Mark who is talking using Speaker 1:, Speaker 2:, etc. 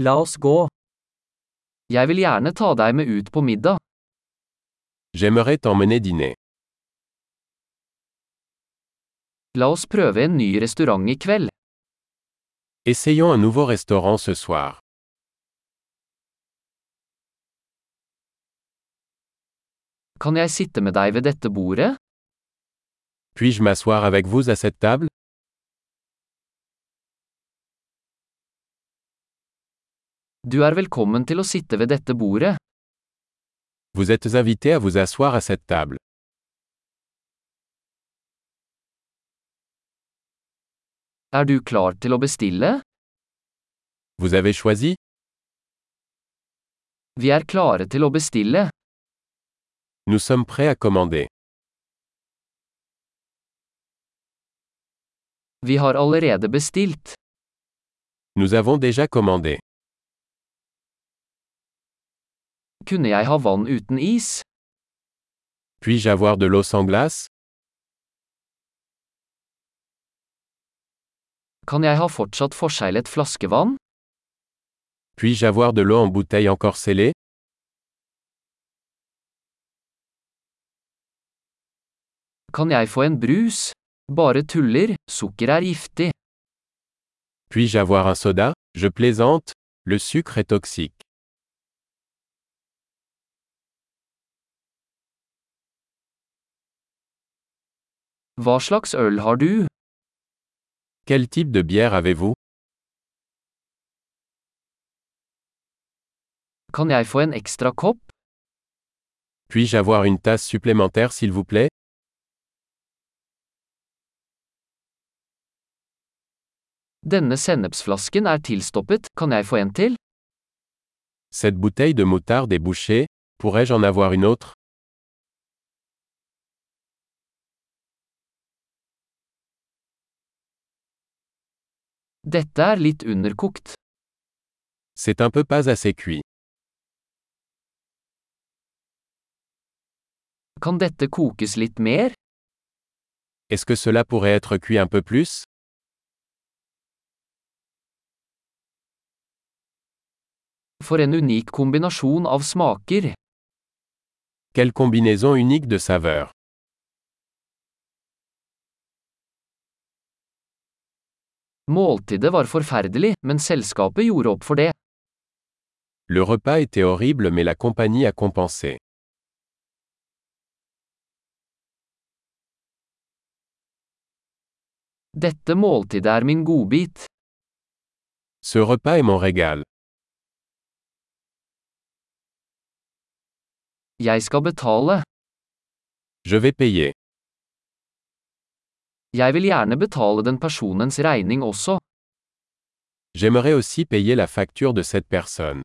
Speaker 1: La oss gå. Jeg vil gjerne ta deg med ut på middag.
Speaker 2: J'aimerais t'emmener dîner.
Speaker 1: La oss prøve en ny restaurant i kveld.
Speaker 2: Essayons un nouveau restaurant ce soir.
Speaker 1: Kan jeg sitte med deg ved dette bordet?
Speaker 2: Puis-je m'asseoir avec vous à cette table
Speaker 1: Du er velkommen til å sitte ved dette bordet.
Speaker 2: Vous êtes invité à vous asseoir à cette table.
Speaker 1: Er du klar til å bestille?
Speaker 2: Vous avez choisi
Speaker 1: Vi er klare til å bestille.
Speaker 2: Nous sommes prêts à commander.
Speaker 1: Vi har allerede bestilt.
Speaker 2: Nous avons déjà commandé.
Speaker 1: Kunne jeg ha vann uten is?
Speaker 2: Puis-je avoir de l'eau sans glace
Speaker 1: Kan jeg ha fortsatt forseglet flaskevann?
Speaker 2: Puis-je avoir de l'eau en bouteille encore scellée
Speaker 1: Kan jeg få en brus? Bare tuller, sukker er giftig.
Speaker 2: Puis-je avoir un soda Je plaisante. Le sucre est toxique.
Speaker 1: Hva slags øl har du?
Speaker 2: Quel type de bière avez-vous
Speaker 1: Kan jeg få en ekstra kopp?
Speaker 2: Puis-je avoir une tasse supplémentaire s'il vous plaît
Speaker 1: Denne sennepsflasken er tilstoppet, kan jeg få en til?
Speaker 2: Cette bouteille de moutarde est bouchée. Pourrais-je en avoir une autre
Speaker 1: Dette er litt underkokt.
Speaker 2: C'est un peu pas assez cuit.
Speaker 1: Kan dette kokes litt mer?
Speaker 2: Est-ce que cela pourrait être cuit un peu plus
Speaker 1: For en unik kombinasjon av smaker.
Speaker 2: Quelle combinaison unique de saveurs
Speaker 1: Måltidet var forferdelig, men selskapet gjorde opp for det.
Speaker 2: Le repas était horrible mais la compagnie a compensé.
Speaker 1: Dette måltidet er min godbit.
Speaker 2: Ce repas est mon régal.
Speaker 1: Jeg skal betale.
Speaker 2: Je vais payer.
Speaker 1: Jeg vil gjerne betale den personens regning også.
Speaker 2: J'aimerais aussi payer la facture de cette personne.